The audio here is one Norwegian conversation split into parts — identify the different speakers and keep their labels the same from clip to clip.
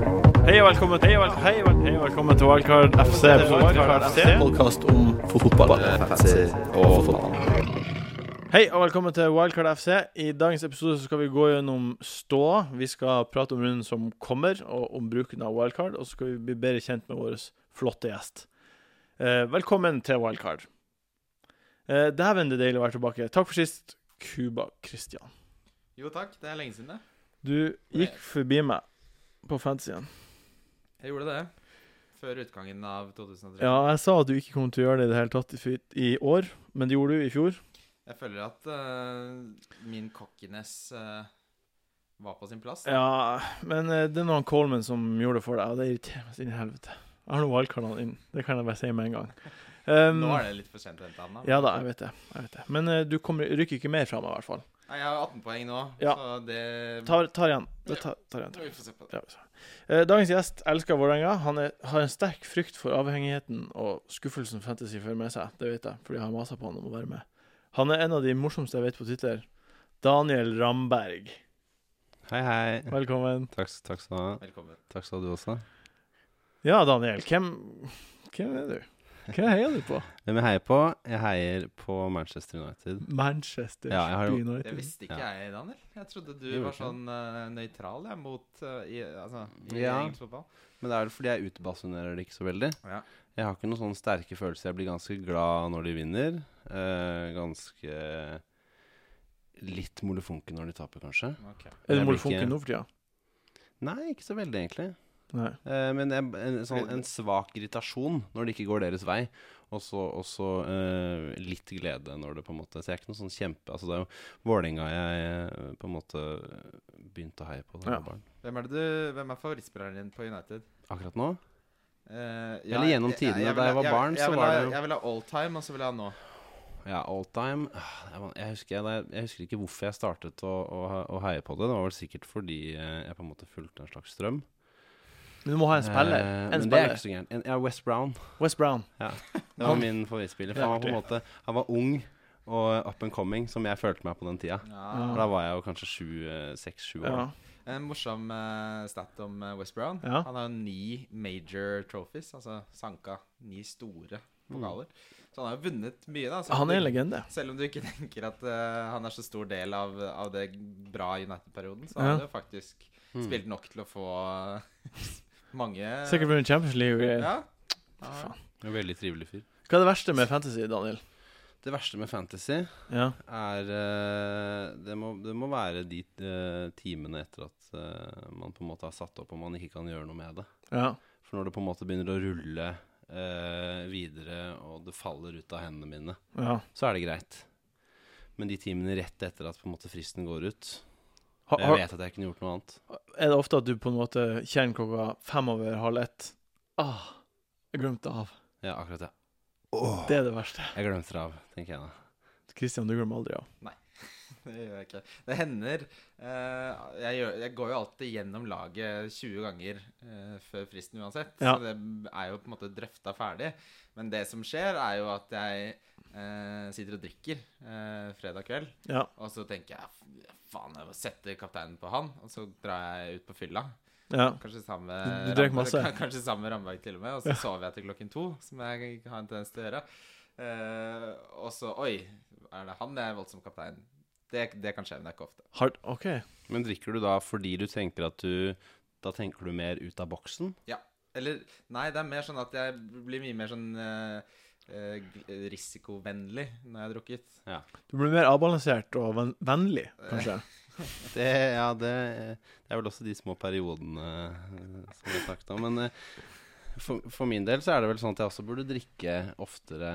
Speaker 1: og velkommen til vel- Hei, vel- hei, og velkommen til Wildcard FC. Wildcard FC.
Speaker 2: podkast om fotball. og fotball.
Speaker 1: Hei og velkommen til Wildcard FC. I dagens episode så skal vi gå gjennom ståa. Vi skal prate om runden som kommer, og om bruken av wildcard. Og så skal vi bli bedre kjent med vår flotte gjest. Eh, velkommen til Wildcard. Eh, Dæven, det er deilig å være tilbake. Takk for sist, Cuba Christian.
Speaker 3: Jo takk, det er lenge siden det.
Speaker 1: Du gikk forbi meg på fantasyen.
Speaker 3: Jeg gjorde det. Før utgangen av 2003.
Speaker 1: Ja, jeg sa at du ikke kom til å gjøre det i det hele tatt i fy- i år, men det gjorde du i fjor.
Speaker 3: Jeg føler at eh, min cockiness eh, var på sin plass. da.
Speaker 1: Ja, men eh, det er noen Coleman som gjorde det for deg, og det irriterer meg inn i helvete. Jeg har nå valgkanalen inn, det kan jeg bare si med en gang. Um,
Speaker 3: Nå er det litt for sent å hente han, da.
Speaker 1: Ja da, jeg vet det. Jeg vet det. Men eh, du kommer, rykker ikke mer fra meg, i hvert fall.
Speaker 3: Nei, jeg har 18 poeng nå,
Speaker 1: Ja.
Speaker 3: så det
Speaker 1: Tar, tar igjen. Det tar, tar igjen.
Speaker 3: Vi får se på det.
Speaker 1: Ja, så. Eh, Dagens gjest elsker Vålerenga. Han er, har en sterk frykt for avhengigheten og skuffelsen fantasy fører med seg. Det vet jeg, fordi jeg har masa på han om å være med. Han er en av de morsomste jeg vet på Twitter. Daniel Ramberg.
Speaker 2: Hei, hei.
Speaker 1: Velkommen.
Speaker 2: Takk, takk skal du ha.
Speaker 3: Velkommen.
Speaker 2: Takk skal du også.
Speaker 1: Ja, Daniel, hvem, hvem er du? Hva heier du på?
Speaker 2: Hvem jeg heier på? Jeg heier på Manchester United.
Speaker 1: Manchester
Speaker 2: Ja, jeg har jo-
Speaker 3: Det
Speaker 1: United.
Speaker 3: visste ikke jeg, Daniel. Jeg trodde du
Speaker 2: Gjorde
Speaker 3: var
Speaker 2: ikke
Speaker 3: sånn eh, nøytral jeg, mot eh, i, altså, i
Speaker 2: Ja.
Speaker 3: engelsk fotball.
Speaker 2: Men det er vel fordi jeg utbasunerer det ikke så veldig.
Speaker 3: Ja.
Speaker 2: Jeg har ikke noen sånne sterke følelser. Jeg blir ganske glad når de vinner. Eh, ganske litt molefonke når de taper, kanskje.
Speaker 3: Ok.
Speaker 1: Er
Speaker 2: Jeg
Speaker 1: du
Speaker 2: blir ikke-
Speaker 1: molefonken nå for tida?
Speaker 2: Nei, ikke så veldig, egentlig.
Speaker 1: Nei.
Speaker 2: Eh, men en, en, sånn, en svak irritasjon når det ikke går deres vei. Og så og så, eh, litt glede når det på en måte Så jeg er ikke noe sånn kjempe Altså Det er jo Vålerenga jeg eh, på en måte begynte å heie på da jeg
Speaker 1: Ja.
Speaker 2: var barn.
Speaker 3: Hvem er, det du, hvem er favorittspilleren din på United?
Speaker 2: Akkurat nå?
Speaker 3: Eh,
Speaker 2: Eller gjennom
Speaker 3: jeg- jeg-
Speaker 2: tidene,
Speaker 3: jeg
Speaker 2: da
Speaker 3: vil
Speaker 2: jeg
Speaker 3: ha-
Speaker 2: var barn,
Speaker 3: jeg
Speaker 2: så
Speaker 3: vil
Speaker 2: var
Speaker 3: ha-
Speaker 2: det jo-
Speaker 3: Jeg vil ha all time, og så vil jeg ha nå.
Speaker 2: Ja, all time Ah, det er van- jeg husker, jeg, jeg husker ikke hvorfor jeg startet å, å, å heie på det. Det var vel sikkert fordi eh, jeg på en måte fulgte en slags strøm.
Speaker 1: Men du må ha en spiller.
Speaker 2: Eh,
Speaker 1: En
Speaker 2: men det er
Speaker 1: spiller.
Speaker 2: ikke så gærent. En- Ja, West Brown.
Speaker 1: West Brown.
Speaker 2: Det var min favorittspiller. For
Speaker 1: Det er
Speaker 2: han var på en måte Han var ung og up and coming, som jeg følte meg på den tida.
Speaker 3: Ja.
Speaker 2: For da var jeg jo kanskje sju, eh, seks, sju år.
Speaker 1: Ja.
Speaker 3: En morsom eh, stat om eh, West Brown.
Speaker 1: Ja.
Speaker 3: Han har jo ni major trophies, altså sanka ni store pokaler. Så han har jo vunnet mye, da. selv om
Speaker 1: Han er en
Speaker 3: du-
Speaker 1: legende.
Speaker 3: Selv om du ikke tenker at eh, han er så stor del av, av det bra United-perioden, så
Speaker 1: Ja.
Speaker 3: har han jo faktisk
Speaker 2: Mm.
Speaker 3: spilt nok til å få eh, mange
Speaker 1: Sikkert vunnet Champions League og greier.
Speaker 3: Ja.
Speaker 1: Faen.
Speaker 2: En Veldig trivelig fyr.
Speaker 1: Hva er det verste med fantasy, Daniel?
Speaker 2: Det verste med fantasy
Speaker 1: Ja.
Speaker 2: er eh, Det må, det må være de eh, timene etter at eh, man på en måte har satt opp og man ikke kan gjøre noe med det.
Speaker 1: ja.
Speaker 2: For når det på en måte begynner å rulle eh, videre, og det faller ut av hendene mine,
Speaker 1: ja.
Speaker 2: så er det greit. Men de timene rett etter at på en måte fristen går ut
Speaker 1: Har,
Speaker 2: Jeg
Speaker 1: har,
Speaker 2: vet at jeg kunne gjort noe annet.
Speaker 1: er det ofte at du på en måte kjenner klokka fem over halv ett Ah, jeg glemte av.
Speaker 2: Ja, akkurat det.
Speaker 1: Det er det verste.
Speaker 2: Jeg glemte det av, tenker jeg da.
Speaker 1: Christian, du glemmer aldri av.
Speaker 3: Det gjør jeg ikke. Det hender. eh, jeg, gjør, jeg går jo alltid gjennom laget 20 ganger eh, før fristen uansett.
Speaker 1: Ja.
Speaker 3: Så det er jo på en måte drøfta ferdig. Men det som skjer, er jo at jeg eh, sitter og drikker eh, fredag kveld.
Speaker 1: Ja.
Speaker 3: Og så tenker jeg faen, jeg må sette kapteinen på han. Og så drar jeg ut på fylla.
Speaker 1: ja.
Speaker 3: Kanskje sammen med
Speaker 1: Du- du drakk
Speaker 3: Ramberg-
Speaker 1: masse.
Speaker 3: kan- Kanskje sammen med Ramberg til og med. Og så sover jeg til klokken to, som jeg har en tendens til å gjøre. Eh, og så Oi, er det han jeg er voldsom kaptein? Det, det kan skje, men det er ikke ofte.
Speaker 1: Har, OK.
Speaker 2: Men drikker du da fordi du tenker at du Da tenker du mer ut av boksen?
Speaker 3: Eller nei, det er mer sånn at jeg blir mye mer sånn eh, eh, gl- risikovennlig når jeg har drukket.
Speaker 1: Du blir mer avbalansert og ven vennlig, kanskje.
Speaker 2: Det, ja, det, det er vel også de små periodene eh, som jeg snakket om. Men eh, for, for min del så er det vel sånn at jeg også burde drikke oftere.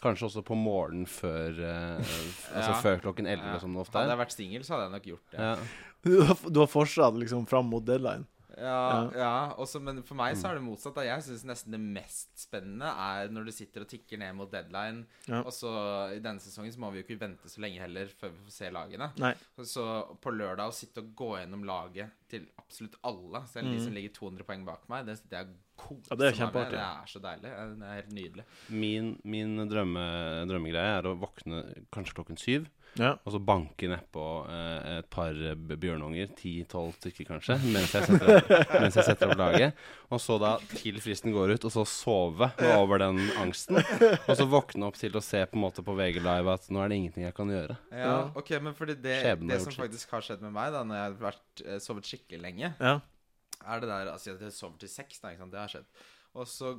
Speaker 2: Kanskje også på morgenen før, eh, f- altså
Speaker 3: Ja.
Speaker 2: før klokken
Speaker 3: Ja.
Speaker 2: elleve, som det ofte
Speaker 3: Hadde
Speaker 2: er.
Speaker 3: jeg vært singel, så hadde jeg nok gjort det.
Speaker 2: Ja.
Speaker 1: Du har, du har fortsatt liksom fram mot deadline.
Speaker 3: Ja, ja. Også, men for meg så er det motsatt. Da. Jeg syns nesten det mest spennende er når du sitter og tikker ned mot deadline.
Speaker 1: Ja.
Speaker 3: Og så I denne sesongen så må vi jo ikke vente så lenge heller før vi får se lagene.
Speaker 1: Nei.
Speaker 3: Så på lørdag å sitte og gå gjennom laget til absolutt alle, selv de som ligger 200 poeng bak meg, det sitter jeg og
Speaker 1: Mm. Ja,
Speaker 3: koser
Speaker 1: det er
Speaker 3: meg
Speaker 1: kjempeartig.
Speaker 3: med. Det er så deilig. Det er helt nydelig.
Speaker 2: Min, min drømme, drømmegreie er å våkne kanskje klokken syv,
Speaker 1: Ja.
Speaker 2: og så banke nedpå eh, et par eh, b- bjørnunger, 10-12 stykker kanskje, mens jeg, setter opp, mens jeg setter opp laget. Og så da til fristen går ut, og så sove over den angsten. Og så våkne opp til å se på en måte på VG Live at nå er det ingenting jeg kan gjøre.
Speaker 3: Ja, ok, men fordi det,
Speaker 2: Skjebnen har
Speaker 3: det
Speaker 2: gjort
Speaker 3: som
Speaker 2: sitt.
Speaker 3: faktisk har skjedd med meg, da, når jeg har vært, eh, sovet skikkelig lenge,
Speaker 1: Ja.
Speaker 3: er det der Altså, jeg sover til seks, da, ikke sant? Det har skjedd. Og så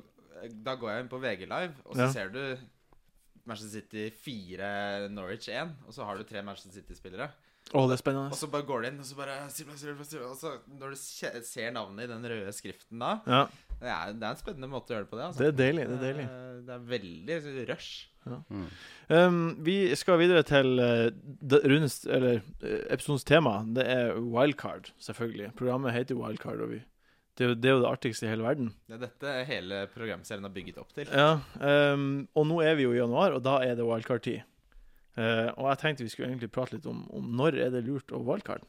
Speaker 3: eh, Da går jeg inn på VG Live, og så
Speaker 1: Ja.
Speaker 3: ser du Manchester City 4, Norwich 1, og så har du tre Manchester City-spillere.
Speaker 1: Å, det er spennende.
Speaker 3: Og så bare går du inn, og så bare Silva, Silva, Silva, Og så når du kje- ser navnet i den røde skriften da
Speaker 1: Ja,
Speaker 3: Det er, det er en spennende måte å gjøre det på, det. altså.
Speaker 1: det er deilig. Det er deilig.
Speaker 3: Eh, Det er veldig rush.
Speaker 1: Um, vi skal videre til eh, d- rundens, eller, eh, episodens tema. Det er wildcard, selvfølgelig. Programmet heter Wildcard. Og vi, det, er jo- det er jo det artigste i hele verden.
Speaker 3: Det er dette hele programserien har bygget opp til.
Speaker 1: Ja, um, og nå er vi jo i januar, og da er det wildcard-tid. Eh, og jeg tenkte vi skulle egentlig prate litt om, om når er det lurt å wildcard.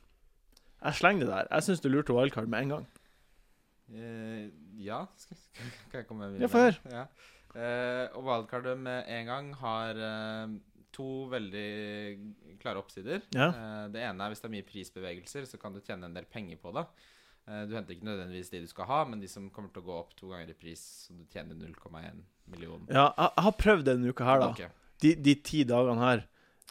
Speaker 1: Jeg slenger det der. Jeg syns det er lurt å wildcard med en gang.
Speaker 3: Eh, ja, skal, kan jeg komme med
Speaker 1: Ja, få høre.
Speaker 3: Ja. Eh, og wildcardet med en gang har eh, to veldig klare oppsider.
Speaker 1: Ja.
Speaker 3: Eh, det ene er hvis det er mye prisbevegelser, så kan du tjene en del penger på det. Eh, du henter ikke nødvendigvis de du skal ha, men de som kommer til å gå opp to ganger i pris, så du tjener 0,1 million.
Speaker 1: Ja, jeg, jeg har prøvd det denne uka her, da.
Speaker 3: Ok.
Speaker 1: De, de ti dagene her.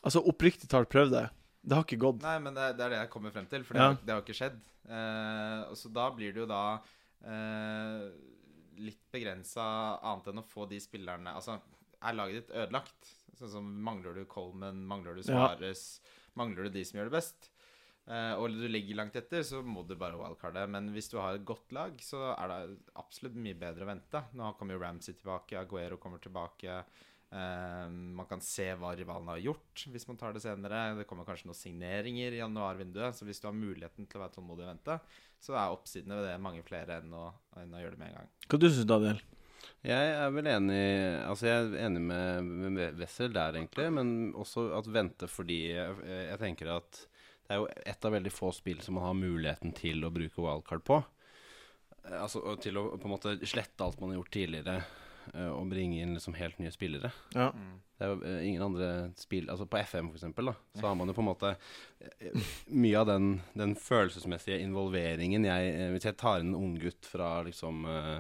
Speaker 1: Altså oppriktig talt prøvd det. Det har ikke gått.
Speaker 3: Nei, men det, det er det jeg kommer frem til, for det,
Speaker 1: Ja.
Speaker 3: har, det har jo ikke skjedd. Eh, og så da blir det jo da eh, litt begrensa annet enn å få de spillerne Altså, er laget ditt ødelagt? Sånn som mangler du Coleman, mangler du
Speaker 1: Ja.
Speaker 3: Svares, mangler du de som gjør det best? Eh, og du ligger langt etter, så må du bare wildcarde. Men hvis du har et godt lag, så er det absolutt mye bedre å vente. Nå kommer jo Ramsey tilbake, Aguero kommer tilbake. Eh, man kan se hva rivalene har gjort hvis man tar det senere. Det kommer kanskje noen signeringer i januarvinduet, så hvis du har muligheten til å være tålmodig og vente, så er oppsidene ved det mange flere enn å, enn å gjøre det med en gang.
Speaker 1: Hva du syns du, Daniel?
Speaker 2: Jeg er vel enig Altså jeg er enig med, med Wessel der, egentlig, men også at vente fordi jeg, jeg tenker at det er jo et av veldig få spill som man har muligheten til å bruke wildcard på. Eh, Altså og til å på en måte slette alt man har gjort tidligere, eh, og bringe inn liksom helt nye spillere.
Speaker 1: Ja.
Speaker 2: Det er jo eh, ingen andre spill Altså på FM for eksempel da Så har man jo på en måte eh, Mye av den, den følelsesmessige involveringen jeg, eh, Hvis jeg tar inn en ung gutt fra liksom uh,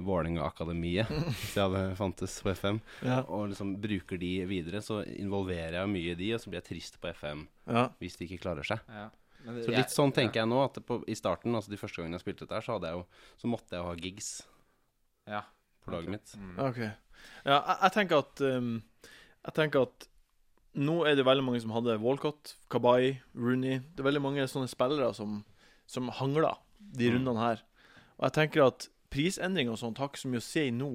Speaker 2: Vålinga Akademiet Hvis jeg hadde fantes på FM
Speaker 1: Ja.
Speaker 2: Og liksom bruker de videre Så involverer jeg mye i de Og så blir jeg trist på FM
Speaker 1: ja.
Speaker 2: Hvis de ikke klarer seg
Speaker 3: Ja. Men
Speaker 2: Så litt sånn tenker jeg nå At det på, i starten, altså de første gangene jeg spilte dette her Så, hadde jeg jo, så måtte jeg jo ha gigs
Speaker 3: Ja.
Speaker 2: på laget mitt
Speaker 3: Mm.
Speaker 1: Ok. Ja, jeg, jeg tenker at um, Jeg tenker at nå er det veldig mange som hadde Walcott, Kabay, Rooney Det er veldig mange sånne spillere som, som hangler de
Speaker 2: Mm.
Speaker 1: rundene her. Og jeg tenker at prisendringer og sånt har ikke så mye å si nå,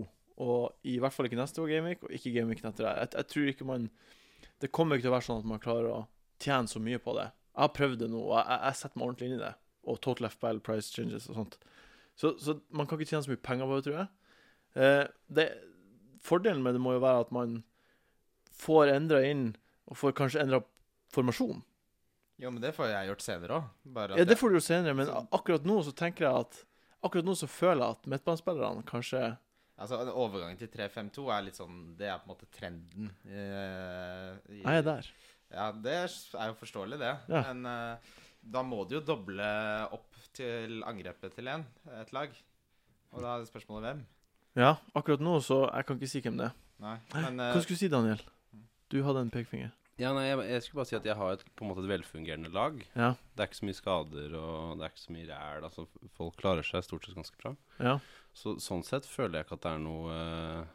Speaker 1: og i hvert fall ikke neste år Gameweek, og ikke Gameweeken etter det. Jeg, jeg tror ikke man Det kommer ikke til å være sånn at man klarer å tjene så mye på det. Jeg har prøvd det nå, og jeg, jeg setter meg ordentlig inn i det. Og total FBL, price changes og sånt. Så, så man kan ikke tjene så mye penger på det, tror jeg. Eh, det, fordelen med det må jo være at man får endra inn, og får kanskje endra formasjon.
Speaker 3: Jo, men det får jeg gjort senere òg. Bare at
Speaker 1: Ja, det
Speaker 3: jeg-
Speaker 1: får du jo senere, men a- akkurat nå så tenker jeg at Akkurat nå så føler jeg at midtbanespillerne kanskje
Speaker 3: altså, overgangen til 3-5-2 er litt sånn Det er på en måte trenden. eh, i-
Speaker 1: er jeg der.
Speaker 3: Ja, det er jo forståelig, det.
Speaker 1: Ja.
Speaker 3: Men eh, da må du jo doble opp til angrepet til en, et lag. Og da er spørsmålet hvem.
Speaker 1: Ja, akkurat nå så Jeg kan ikke si hvem det er.
Speaker 3: Nei, men eh,
Speaker 1: Hva skulle du si, Daniel? Du hadde en pekefinger.
Speaker 2: Ja, nei, jeg, jeg skulle bare si at jeg har et, på en måte et velfungerende lag.
Speaker 1: Ja.
Speaker 2: Det er ikke så mye skader, og det er ikke så mye ræl. Altså, folk klarer seg stort sett ganske bra.
Speaker 1: Ja.
Speaker 2: Så sånn sett føler jeg ikke at det er noe eh,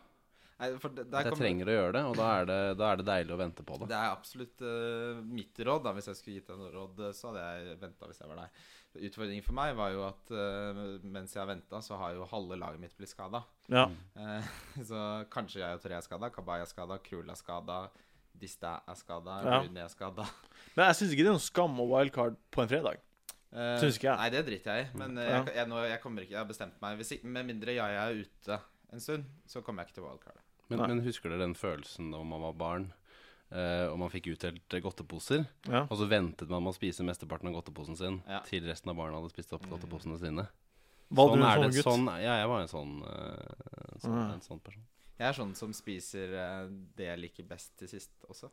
Speaker 3: nei, for det-
Speaker 2: At
Speaker 3: der
Speaker 2: jeg
Speaker 3: kommer-
Speaker 2: trenger å gjøre det, og da er det, da er det deilig å vente på det.
Speaker 3: Det er absolutt eh, mitt råd. da Hvis jeg skulle gitt deg noe råd, eh, så hadde jeg venta hvis jeg var deg. Utfordringen for meg var jo at eh, mens jeg venta, så har jo halve laget mitt blitt skada.
Speaker 1: ja.
Speaker 3: så kanskje jeg og Toré er skada, Kabay er skada, Krul er skada, Dista er skada,
Speaker 1: Ja.
Speaker 3: Rune er skada.
Speaker 1: Men jeg syns ikke det er noen skam å wildcard på en fredag.
Speaker 3: Eh,
Speaker 1: Syns ikke jeg.
Speaker 3: Nei, det driter jeg i. Men eh,
Speaker 1: Ja.
Speaker 3: jeg, jeg, nå, jeg kommer ikke Jeg har bestemt meg. Hvis, ikke- med mindre jeg er ute en stund, så kommer jeg ikke til wildcard.
Speaker 2: Men,
Speaker 1: Nei.
Speaker 2: men husker dere den følelsen da man var barn, eh, og man fikk utdelt eh, godteposer?
Speaker 1: Ja.
Speaker 2: Og så ventet man med å spise mesteparten av godteposen sin
Speaker 3: Ja.
Speaker 2: til resten av barna hadde spist opp godteposene sine.
Speaker 1: Var du en
Speaker 2: er
Speaker 1: sånn
Speaker 2: det.
Speaker 1: gutt?
Speaker 2: Sånn, ja, jeg var en sånn, eh, sånn,
Speaker 1: Ah.
Speaker 2: en sånn person.
Speaker 3: Jeg er sånn som spiser eh, det jeg liker best til sist også.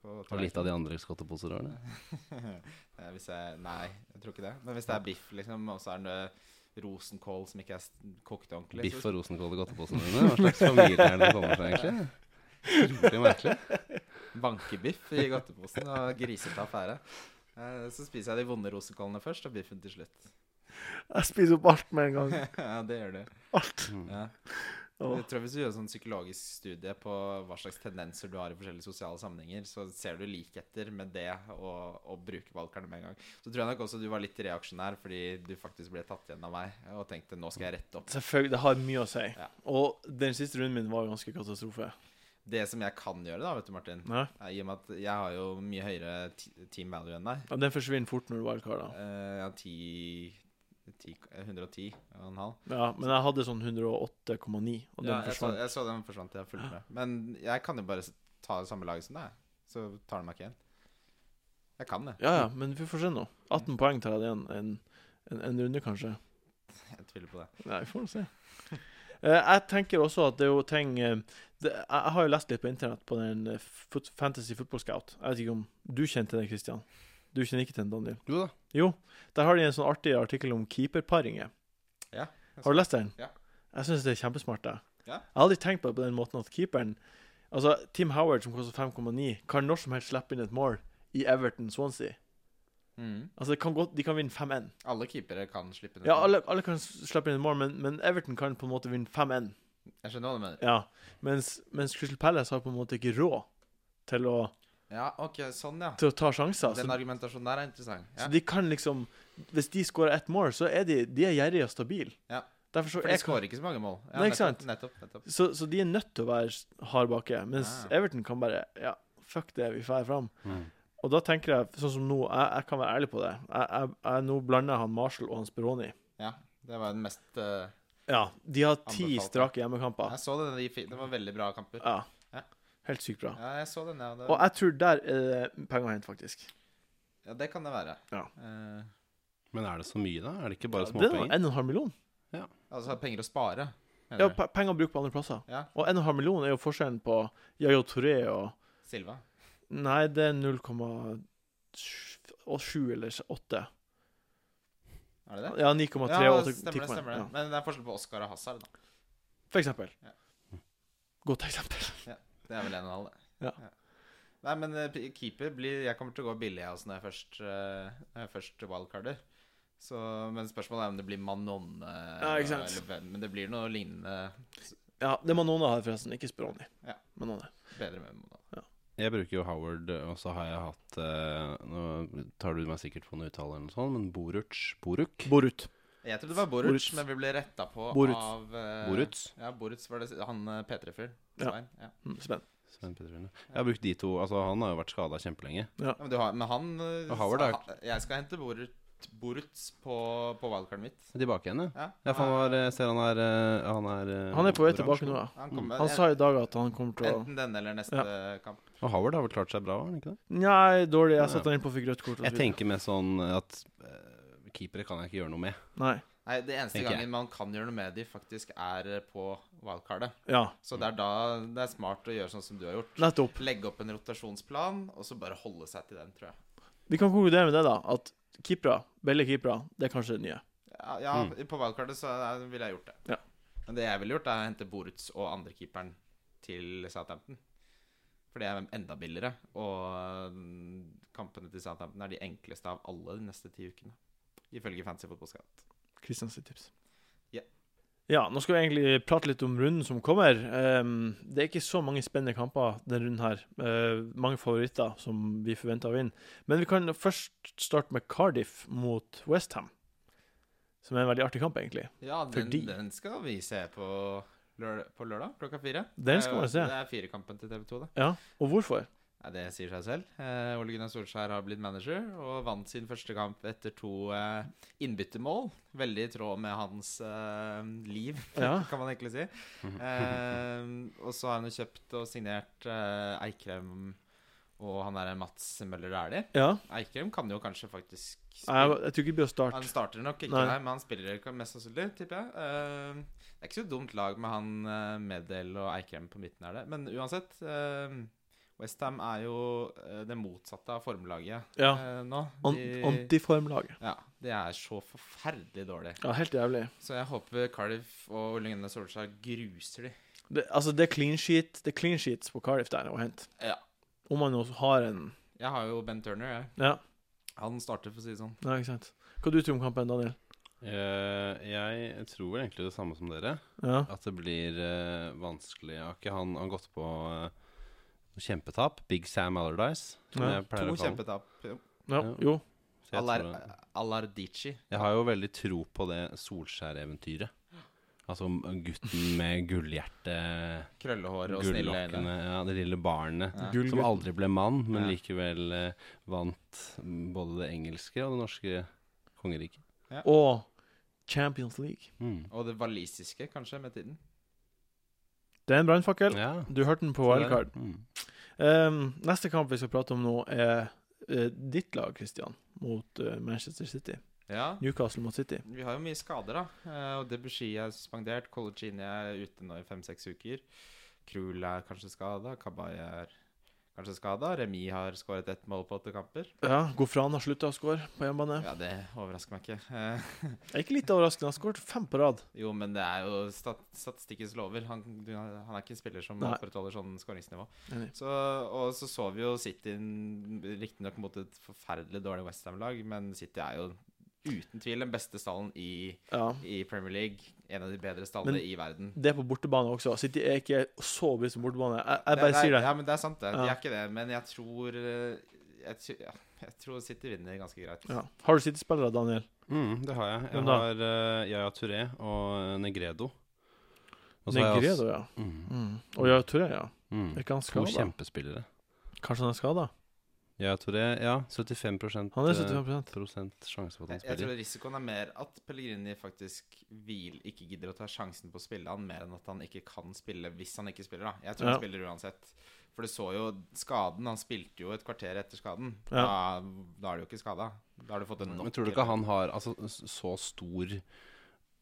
Speaker 3: på
Speaker 2: Og litt av de andre skotteposer har det.
Speaker 3: Eh, hvis jeg, nei, jeg tror ikke det. Men hvis det er biff, liksom, og så er det rosenkål som ikke er s- kokt ordentlig
Speaker 2: Biff
Speaker 3: så,
Speaker 2: og rosenkål i godteposene dine? Hva slags familie er det du kommer fra, egentlig? Utrolig merkelig.
Speaker 3: Vankebiff i godteposen og grisete affære. Eh, Så spiser jeg de vonde rosenkålene først, og biffen til slutt.
Speaker 1: Jeg spiser opp alt med en gang.
Speaker 3: ja, det gjør du.
Speaker 1: Alt.
Speaker 3: Ja.
Speaker 1: Åh.
Speaker 3: Jeg tror Hvis du gjør en sånn psykologisk studie på hva slags tendenser du har i forskjellige sosiale sammenhenger, så ser du likheter med det og, og bruke valgkarene med en gang. Så tror jeg nok også du var litt reaksjonær fordi du faktisk ble tatt igjen av meg og tenkte nå skal jeg rette opp.
Speaker 1: Selvfølgelig, det har mye å si.
Speaker 3: Ja.
Speaker 1: Og den siste runden min var jo ganske katastrofe.
Speaker 3: Det som jeg kan gjøre, da, vet du, Martin
Speaker 1: Ja.
Speaker 3: er I og med at jeg har jo mye høyere ti- team value enn deg.
Speaker 1: Ja, Den forsvinner fort når du wildcarder.
Speaker 3: Eh, Jeg har 10, 10, 110 og en halv.
Speaker 1: Ja, men jeg hadde sånn 108,9, og den
Speaker 3: Ja, jeg, så,
Speaker 1: forsvant.
Speaker 3: jeg så den forsvant, jeg fulgte med. Men jeg kan jo bare s- ta samme lag som deg, så tar den meg ikke igjen. Jeg kan det.
Speaker 1: Ja, ja, men vi får se nå. 18 poeng tar jeg det igjen. En, en, en runde, kanskje.
Speaker 3: Jeg tviler på det.
Speaker 1: Nei, vi får nå se. Eh, Jeg tenker også at det er jo ting eh, det, Jeg jeg har jo lest litt på internett på den eh, fut- Fantasy Football Scout. Jeg vet ikke om du kjente den, Christian. Du kjenner ikke til den, Daniel.
Speaker 2: Jo da.
Speaker 1: Jo, der har de en sånn artig artikkel om keeperparinger.
Speaker 3: Ja, jeg
Speaker 1: Har du lest den?
Speaker 3: Ja.
Speaker 1: Jeg syns det er kjempesmart. det.
Speaker 3: Ja.
Speaker 1: Jeg har aldri tenkt på det på den måten at keeperen Altså, Team Howard, som koster 5,9, kan når som helst slippe inn et mål i Everton Swansea. Altså, det kan godt, De kan vinne 5-1.
Speaker 3: Mm. Alle keepere kan slippe ned.
Speaker 1: Ja, alle, alle kan s- slippe inn et mål, men, men Everton kan på en måte vinne 5-1.
Speaker 3: Jeg skjønner hva du mener.
Speaker 1: Ja, mens, mens Crystal Palace har på en måte ikke råd til å,
Speaker 3: Ja, ok, sånn, ja.
Speaker 1: til å ta sjanser.
Speaker 3: Den
Speaker 1: Så,
Speaker 3: argumentasjonen der er interessant.
Speaker 1: så
Speaker 3: Ja.
Speaker 1: de kan liksom Hvis de skårer ett mål, så er de, de er gjerrige og stabile.
Speaker 3: Ja.
Speaker 1: Derfor så,
Speaker 3: For de
Speaker 1: er,
Speaker 3: skårer ikke så mange mål. Ja,
Speaker 1: Nei, ikke sant?
Speaker 3: Nettopp, nettopp.
Speaker 1: så, så de er nødt til å være s- hard bakke, mens
Speaker 3: Ja.
Speaker 1: Everton kan bare Ja, fuck det, vi drar fram.
Speaker 2: Mm.
Speaker 1: Og da tenker jeg, sånn som nå, jeg, jeg kan være ærlig på det. Jeg, jeg, jeg, nå blander han Marshall og han Speroni.
Speaker 3: Ja, det var den mest eh,
Speaker 1: Ja, de har ti
Speaker 3: Anbefalt.
Speaker 1: strake hjemmekamper.
Speaker 3: Jeg så den, de fikk- det var veldig bra kamper.
Speaker 1: Ja.
Speaker 3: Ja.
Speaker 1: Helt sykt bra.
Speaker 3: Ja, jeg så den, ja.
Speaker 1: Og
Speaker 3: Det,
Speaker 1: jeg tror der er det penger å hente, faktisk.
Speaker 3: ja, det kan det være.
Speaker 1: Ja.
Speaker 3: Eh,
Speaker 2: Men er det så mye, da? Er det ikke bare
Speaker 1: Det er
Speaker 2: småpenger?
Speaker 1: 1,5 million.
Speaker 3: altså penger å spare. mener
Speaker 1: Ja,
Speaker 3: du?
Speaker 1: pe- penger å bruke på andre plasser.
Speaker 3: ja.
Speaker 1: Og 1,5 million er jo forskjellen på Yayo Touré og
Speaker 3: Silva.
Speaker 1: Nei, det er 0,7 eller 8.
Speaker 3: Er det det?
Speaker 1: Ja, 9,3 og 8,10
Speaker 3: Ja, det stemmer det.
Speaker 1: poeng.
Speaker 3: stemmer det
Speaker 1: Ja.
Speaker 3: Men det er forskjell på Oscar og Hazard. Da.
Speaker 1: For eksempel.
Speaker 3: Ja.
Speaker 1: Godt eksempel.
Speaker 3: Det er vel en og en halv, det.
Speaker 1: Ja.
Speaker 3: Nei, men eh, p- keeper blir Jeg kommer til å gå billig jeg, også når jeg først, eh, når jeg først wildcarder. Så, men spørsmålet er om det blir Manon eh,
Speaker 1: Ja, ikke sant.
Speaker 3: eller hvem. Men det blir noe lignende
Speaker 1: Ja, det er Manona her, forresten. Ikke Speroni.
Speaker 3: Ja.
Speaker 1: Manone.
Speaker 3: bedre med Manon.
Speaker 2: Jeg bruker jo Howard, og så har jeg hatt eh, Nå tar du meg sikkert på en uttale eller noe sånt, men Boruc Boruk?
Speaker 1: Borut.
Speaker 3: Jeg trodde det var Boruc,
Speaker 1: Boruc.
Speaker 3: men vi ble retta på
Speaker 1: Boruc.
Speaker 3: av eh,
Speaker 2: Boruc?
Speaker 3: Ja, Boruc var det han eh, P3-fyren.
Speaker 1: Ja.
Speaker 3: Svein, Ja.
Speaker 1: Mm, Spenn.
Speaker 2: Svein Petter Wille. Jeg har brukt de to. Altså, han har jo vært skada kjempelenge.
Speaker 3: Ja, men, du har, men han eh,
Speaker 2: Og Howard er-
Speaker 3: ha- Jeg skal hente Boruc, Boruc på, på wildcardet mitt.
Speaker 2: Tilbake igjen, ja.
Speaker 3: Ja,
Speaker 2: Ja, for han var eh, Ser han er eh, Han er, eh,
Speaker 1: Han er på vei
Speaker 2: oransje
Speaker 1: tilbake nå,
Speaker 2: nå.
Speaker 1: ja.
Speaker 3: han kommer-
Speaker 1: Han sa i dag at han kommer til å
Speaker 3: Enten denne eller neste kamp.
Speaker 2: Og Howard har vel klart seg bra, har han ikke det?
Speaker 1: Nei, dårlig. Jeg satte han inn på og fikk rødt kort. og så
Speaker 2: Jeg
Speaker 1: videre.
Speaker 2: tenker med sånn at eh, keepere kan jeg ikke gjøre noe med.
Speaker 1: Nei.
Speaker 3: Nei, Det eneste
Speaker 2: Tenker jeg.
Speaker 3: gangen man kan gjøre noe med de, faktisk er eh, på wildcardet.
Speaker 1: Ja,
Speaker 3: Så
Speaker 2: Mm.
Speaker 3: det er da det er smart å gjøre sånn som du har gjort.
Speaker 1: nettopp.
Speaker 3: Legge opp en rotasjonsplan, og så bare holde seg til den, tror jeg.
Speaker 1: Vi kan konkludere med det, da. At keepere, billige keepere, det er kanskje det nye.
Speaker 3: Ja, ja på wildcardet så er- ville jeg gjort det.
Speaker 1: Mm. Ja.
Speaker 3: Men det jeg ville gjort, er å hente Boruts og andrekeeperen til Southampton. For det er enda billigere, og mm, kampene til Southampton er de enkleste av alle de neste ti ukene. Ifølge Fancy Football Scout.
Speaker 1: Kristians tips.
Speaker 3: Ja.
Speaker 1: Ja, nå skal vi egentlig prate litt om runden som kommer. Ehm, det er ikke så mange spennende kamper denne runden her. Ehm, mange favoritter som vi forventer å vinne. Men vi kan først starte med Cardiff mot Westham. Som er en veldig artig kamp, egentlig.
Speaker 3: Ja, den,
Speaker 1: Fordi-
Speaker 3: den skal vi se på, lør på lørdag klokka fire.
Speaker 1: Den skal
Speaker 3: Eh,
Speaker 1: man se.
Speaker 3: Det er firekampen til TV 2, det.
Speaker 1: Ja, og hvorfor?
Speaker 3: Nei, det sier seg selv. Eh, Ole Gunnar Solskjær har blitt manager og vant sin første kamp etter to eh, innbyttermål. Veldig i tråd med hans eh, liv,
Speaker 1: Ja.
Speaker 3: kan man egentlig si. Eh, og så har han jo kjøpt og signert eh, Eikrem og han der Mats Møller Dæhlie.
Speaker 1: Ja,
Speaker 3: Eikrem kan jo kanskje faktisk
Speaker 1: jeg,
Speaker 3: spille-
Speaker 1: jeg tror ikke det blir å starte.
Speaker 3: han starter nok ikke,
Speaker 1: Nei.
Speaker 3: nei. men han spiller ikke mest sannsynlig, tipper jeg. Eh, det er ikke så dumt lag med han eh, Medel og Eikrem på midten, er det. Men uansett eh, Westham er jo eh, det motsatte av formlaget
Speaker 1: Ja.
Speaker 3: eh, nå.
Speaker 1: An
Speaker 3: De-
Speaker 1: Antiformlaget.
Speaker 3: ja, det er så forferdelig dårlig.
Speaker 1: Ja, helt jævlig.
Speaker 3: Så jeg håper Cardiff og Ole Gunnar Solskjær gruser de.
Speaker 1: Det, altså, det er clean sheet Det er clean sheets på Cardiff der å hente.
Speaker 3: Ja.
Speaker 1: Om man nå har en
Speaker 3: Jeg har jo Ben Turner, jeg.
Speaker 1: Ja,
Speaker 3: Han starter, for å si det sånn.
Speaker 1: ja ikke sant. Hva du tror om kampen, Daniel?
Speaker 2: Eh, jeg tror vel egentlig det samme som dere.
Speaker 1: Ja.
Speaker 2: At det blir eh, vanskelig. Har ikke han, han gått på eh, kjempetap? Big Sam Allardyce. Som
Speaker 1: Ja,
Speaker 2: jeg pleier
Speaker 3: To
Speaker 2: å kalle ham.
Speaker 3: kjempetap. Jo.
Speaker 1: ja.
Speaker 2: Ja.
Speaker 1: Jo.
Speaker 2: Så jeg
Speaker 3: Alar-
Speaker 2: tror-
Speaker 3: Alardici.
Speaker 2: Jeg har jo veldig tro på det Solskjær-eventyret. Altså om gutten med gullhjerte,
Speaker 3: Krøllehår og snille øyne.
Speaker 2: gullokkene, ja, det lille barnet.
Speaker 3: Ja.
Speaker 1: Gull-
Speaker 2: Som aldri ble mann, men
Speaker 3: Ja.
Speaker 2: likevel eh, vant mm, både det engelske og det norske kongeriket.
Speaker 1: Og Champions League.
Speaker 2: Mm.
Speaker 3: Og det walisiske, kanskje, med tiden.
Speaker 1: Det er en brannfakkel.
Speaker 2: Ja.
Speaker 1: Du hørte den på
Speaker 2: så det-
Speaker 1: wildcard.
Speaker 2: Mm.
Speaker 1: Um, neste kamp vi skal prate om nå, er eh, ditt lag, Christian, mot eh, Manchester City.
Speaker 3: Ja.
Speaker 1: Newcastle mot City.
Speaker 3: Vi har jo mye skader, da. Eh, Og Debussy er suspendert. Collegini er ute nå i fem-seks uker. Krul er kanskje skada. Kabay er kanskje skada. Remi har skåret ett mål på åtte kamper.
Speaker 1: Ja, Gofran har slutta å score på hjemmebane.
Speaker 3: Ja, det overrasker meg ikke. Eh,
Speaker 1: Det er ikke litt overraskende. Han har skåret fem på rad.
Speaker 3: Jo, men det er jo stat statistikkens lover. Han, du- han er ikke en spiller som
Speaker 1: Nei.
Speaker 3: opprettholder sånn skåringsnivå.
Speaker 1: Enig.
Speaker 3: Så, og så så vi jo City riktignok mot et forferdelig dårlig Westham-lag, men City er jo uten tvil den beste stallen i,
Speaker 1: Ja.
Speaker 3: i Premier League. En av de bedre stallene
Speaker 1: Men-
Speaker 3: i verden.
Speaker 1: Det er på bortebane også. City er ikke så bra som bortebane. Jeg, jeg
Speaker 3: Det
Speaker 1: bare
Speaker 3: er-
Speaker 1: sier det.
Speaker 3: Ja, men Det er sant, det. De
Speaker 1: Ja.
Speaker 3: er ikke det. Men jeg tror eh, jeg, tr- ja, jeg tror City vinner ganske greit.
Speaker 1: Ja. Har du City-spillere, Daniel?
Speaker 2: Mm, det har jeg. Jeg
Speaker 1: Hvem da?
Speaker 2: har uh, Yaya Touré og eh, Negredo. Og så har jeg
Speaker 1: Negredo, ja.
Speaker 2: også- Mm,
Speaker 1: Mm. Og ja, Touré, ja.
Speaker 2: mm.
Speaker 1: Er ikke han
Speaker 2: To
Speaker 1: skada?
Speaker 2: kjempespillere.
Speaker 1: Kanskje han er skada?
Speaker 2: Yaya Touré, ja. 75
Speaker 1: Han er
Speaker 2: eh,
Speaker 1: 75
Speaker 2: prosent sjanse for at han
Speaker 3: Jeg,
Speaker 2: spiller.
Speaker 3: jeg tror risikoen er mer at Pellegrini faktisk hvil, ikke gidder å ta sjansen på å spille han, mer enn at han ikke kan spille hvis han ikke spiller. da. Jeg tror
Speaker 1: Ja.
Speaker 3: han spiller uansett. For du så jo skaden. Han spilte jo et kvarter etter skaden.
Speaker 1: Ja.
Speaker 3: Da, da er du jo ikke skada. Da har du fått en
Speaker 2: Men
Speaker 3: knock.
Speaker 2: tror du ikke han har altså, s- så stor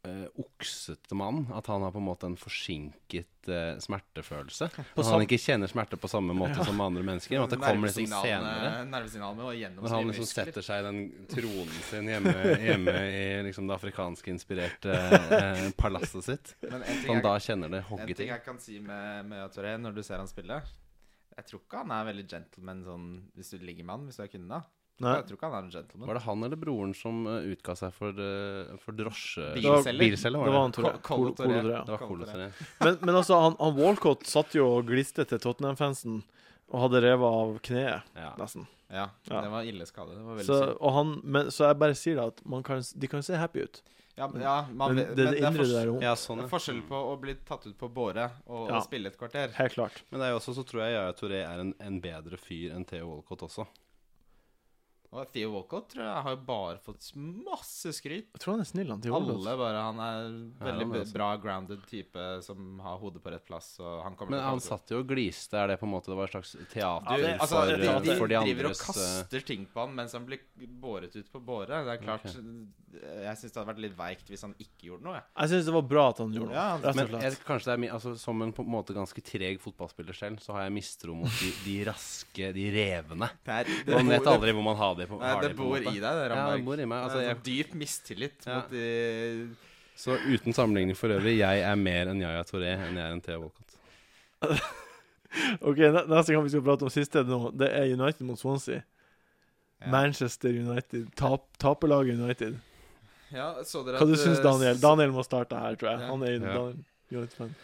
Speaker 2: eh, oksete mann at han har på en måte en forsinket eh, smertefølelse?
Speaker 1: På
Speaker 2: At
Speaker 1: sam-
Speaker 2: han ikke kjenner smerte på samme måte som andre mennesker? Og at det kommer liksom senere?
Speaker 3: Nervesignalene og
Speaker 2: Når han liksom
Speaker 3: gjennomsnittmuskler.
Speaker 2: setter seg i den tronen sin hjemme, hjemme i liksom det afrikansk inspirerte eh, palasset sitt.
Speaker 3: Men en
Speaker 2: At
Speaker 3: ting
Speaker 2: han da
Speaker 3: jeg,
Speaker 2: kjenner det
Speaker 3: en
Speaker 2: hogget
Speaker 3: ting
Speaker 2: til.
Speaker 3: jeg kan si med, med Touré når du ser han spille Jeg tror ikke han er veldig gentleman sånn hvis du ligger med han, hvis du er kvinne. da.
Speaker 1: Nei.
Speaker 3: Jeg tror ikke han er en gentleman.
Speaker 2: Var det han eller broren som eh, utga seg for, eh, for drosje...
Speaker 1: Det var-
Speaker 3: Bilselger.
Speaker 2: Bilselger,
Speaker 1: Det var
Speaker 2: var det?
Speaker 1: han, Touré.
Speaker 3: Col-
Speaker 1: Col- Colo
Speaker 3: Colo Touré.
Speaker 1: Touré, ja.
Speaker 2: Det var
Speaker 3: Kalte det.
Speaker 2: Kolosere.
Speaker 1: Men, men altså, han, han Walcott satt jo og gliste til Tottenham-fansen og hadde revet av kneet,
Speaker 2: Ja.
Speaker 1: nesten.
Speaker 3: Ja,
Speaker 1: Ja.
Speaker 3: det var ille skade. Det var veldig
Speaker 1: Så,
Speaker 3: synd.
Speaker 1: og han, men, så jeg bare sier det at man kan, de kan se happy ut.
Speaker 3: Ja, men, ja, man,
Speaker 1: Men det,
Speaker 3: vet-
Speaker 1: det,
Speaker 3: men det,
Speaker 1: indre
Speaker 3: er
Speaker 1: der
Speaker 3: forskjell,
Speaker 1: jo
Speaker 2: ja, sånn ja.
Speaker 3: det er forskjell på å bli tatt ut på båre og,
Speaker 1: Ja.
Speaker 3: og spille et kvarter.
Speaker 1: Helt klart.
Speaker 2: Men det er jo også, så tror jeg Yaya Touré er en, en bedre fyr enn Theo Walcott også.
Speaker 3: Og Theo Walcott tror jeg har jo bare fått masse skryt.
Speaker 1: Jeg tror han er snill, han til Walcott.
Speaker 3: Alle bare Han er
Speaker 2: Ja,
Speaker 3: veldig
Speaker 2: han er også.
Speaker 3: bra grounded type som har hodet på rett plass, og han kommer
Speaker 2: Men han
Speaker 3: til å komme til-
Speaker 2: satt jo og gliste. Er det på en måte det var et slags teater
Speaker 1: Ja,
Speaker 3: du,
Speaker 1: det-
Speaker 3: altså,
Speaker 2: for,
Speaker 3: de, de,
Speaker 2: eh, for de
Speaker 3: driver og
Speaker 2: andres eh,
Speaker 3: kaster ting på han mens han blir båret ut på båre. Det er klart
Speaker 2: Ok.
Speaker 3: Jeg syns det hadde vært litt veikt hvis han ikke gjorde noe. jeg.
Speaker 1: Jeg syns det var bra at han gjorde noe,
Speaker 3: Ja,
Speaker 1: rett
Speaker 2: Men
Speaker 1: og
Speaker 2: jeg,
Speaker 1: slett.
Speaker 2: kanskje det er min, altså, som en på en måte ganske treg fotballspiller selv, så har jeg mistro mot de, de raske, de revene.
Speaker 3: Det, er, det,
Speaker 2: Man vet
Speaker 3: bor-
Speaker 2: aldri hvor man har de på.
Speaker 3: nei,
Speaker 2: har
Speaker 3: det
Speaker 2: de på en
Speaker 3: bor
Speaker 2: måte.
Speaker 3: i deg,
Speaker 2: Ja,
Speaker 3: det,
Speaker 2: det
Speaker 3: Ramberg.
Speaker 2: bor i meg. Altså,
Speaker 3: Det er
Speaker 2: jeg,
Speaker 3: en dyp mistillit
Speaker 2: Ja.
Speaker 3: mot de
Speaker 2: så uten sammenligning for øvrig, jeg er mer enn Yaya Toré enn jeg er enn Theo Walcott.
Speaker 1: Ok, ne- Neste kamp vi skal prate om siste nå, det er United mot Swansea.
Speaker 3: Ja.
Speaker 1: Manchester United. Tap, Taperlaget United.
Speaker 3: Ja, så dere
Speaker 1: Hva du
Speaker 3: at,
Speaker 1: syns
Speaker 3: eh,
Speaker 1: Daniel?
Speaker 3: s-
Speaker 1: Daniel må starte her, tror jeg.
Speaker 3: Ja.
Speaker 1: Han er
Speaker 2: Ja.
Speaker 1: Daniel United-fan.